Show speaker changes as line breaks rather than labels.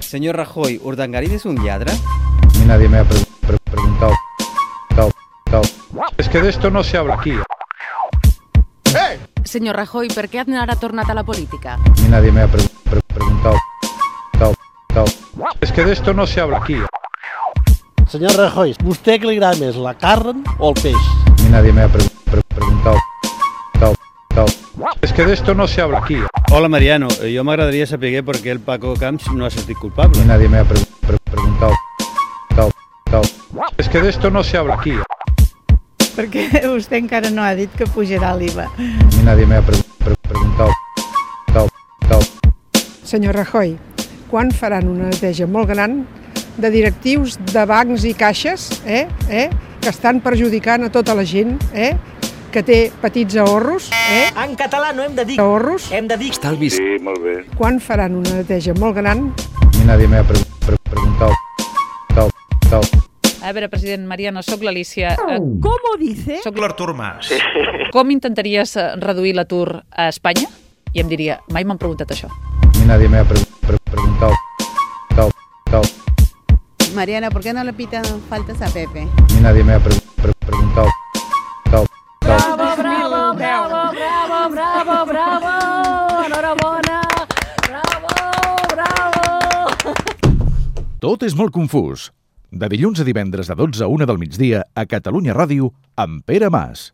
Señor Rajoy, ¿Urdangarín es un lladre?
A mí nadie me ha pre- pre- preguntado. Tao, tao. Es que de esto no se habla aquí. A
Senyor Rajoy, per què Aznar ha tornat a la política?
mí nadie me ha pre- pre- preguntado. Tao, tao. Es que de esto no se habla aquí. A
Senyor Rajoy, vostè que li agrada més, la carn o el peix?
mí nadie me ha pre- pre- preguntado. Tao, tao. Es que de esto no se habla aquí. A
Hola, Mariano. Eh, Jo m'agradaria saber per què el Paco Camps no ha sentit
mí
culpable.
nadie me ha pre- pre- preguntado. Tao, tao. Es que de esto no se habla aquí. A
Perquè vostè encara no ha dit que pujarà l'IVA.
mí nadie me ha pre- pre- preguntado. Tao, tao.
Senyor Rajoy, quan faran una neteja molt gran de directius de bancs i caixes eh, eh, que estan perjudicant a tota la gent eh, que té petits ahorros, eh,
En català no hem de dir...
ahorros.
Hem de dir...
Estalvis,
Quan faran una neteja molt gran
A mí nadie me ha pre- pre- preguntado. Tao, tao.
A veure, president Mariano, sóc l'Alícia. Eh,
Com ho dice?
Soc l'Artur Mas.
Com intentaries eh, reduir l'atur a Espanya? I em diria, mai m'han preguntat això.
A mí nadie me ha pre- pre- preguntado. Tao, tao.
Mariana, ¿por qué no le pitan faltas a Pepe?
A mí nadie me ha pre- pre- preguntado. Tao, tao.
Bravo, bravo, bravo, bravo, bravo! Enhorabona! Bravo, bravo!
Tot és molt confús. De dilluns a divendres de 12 a 1 del migdia a Catalunya Ràdio amb Pere Mas.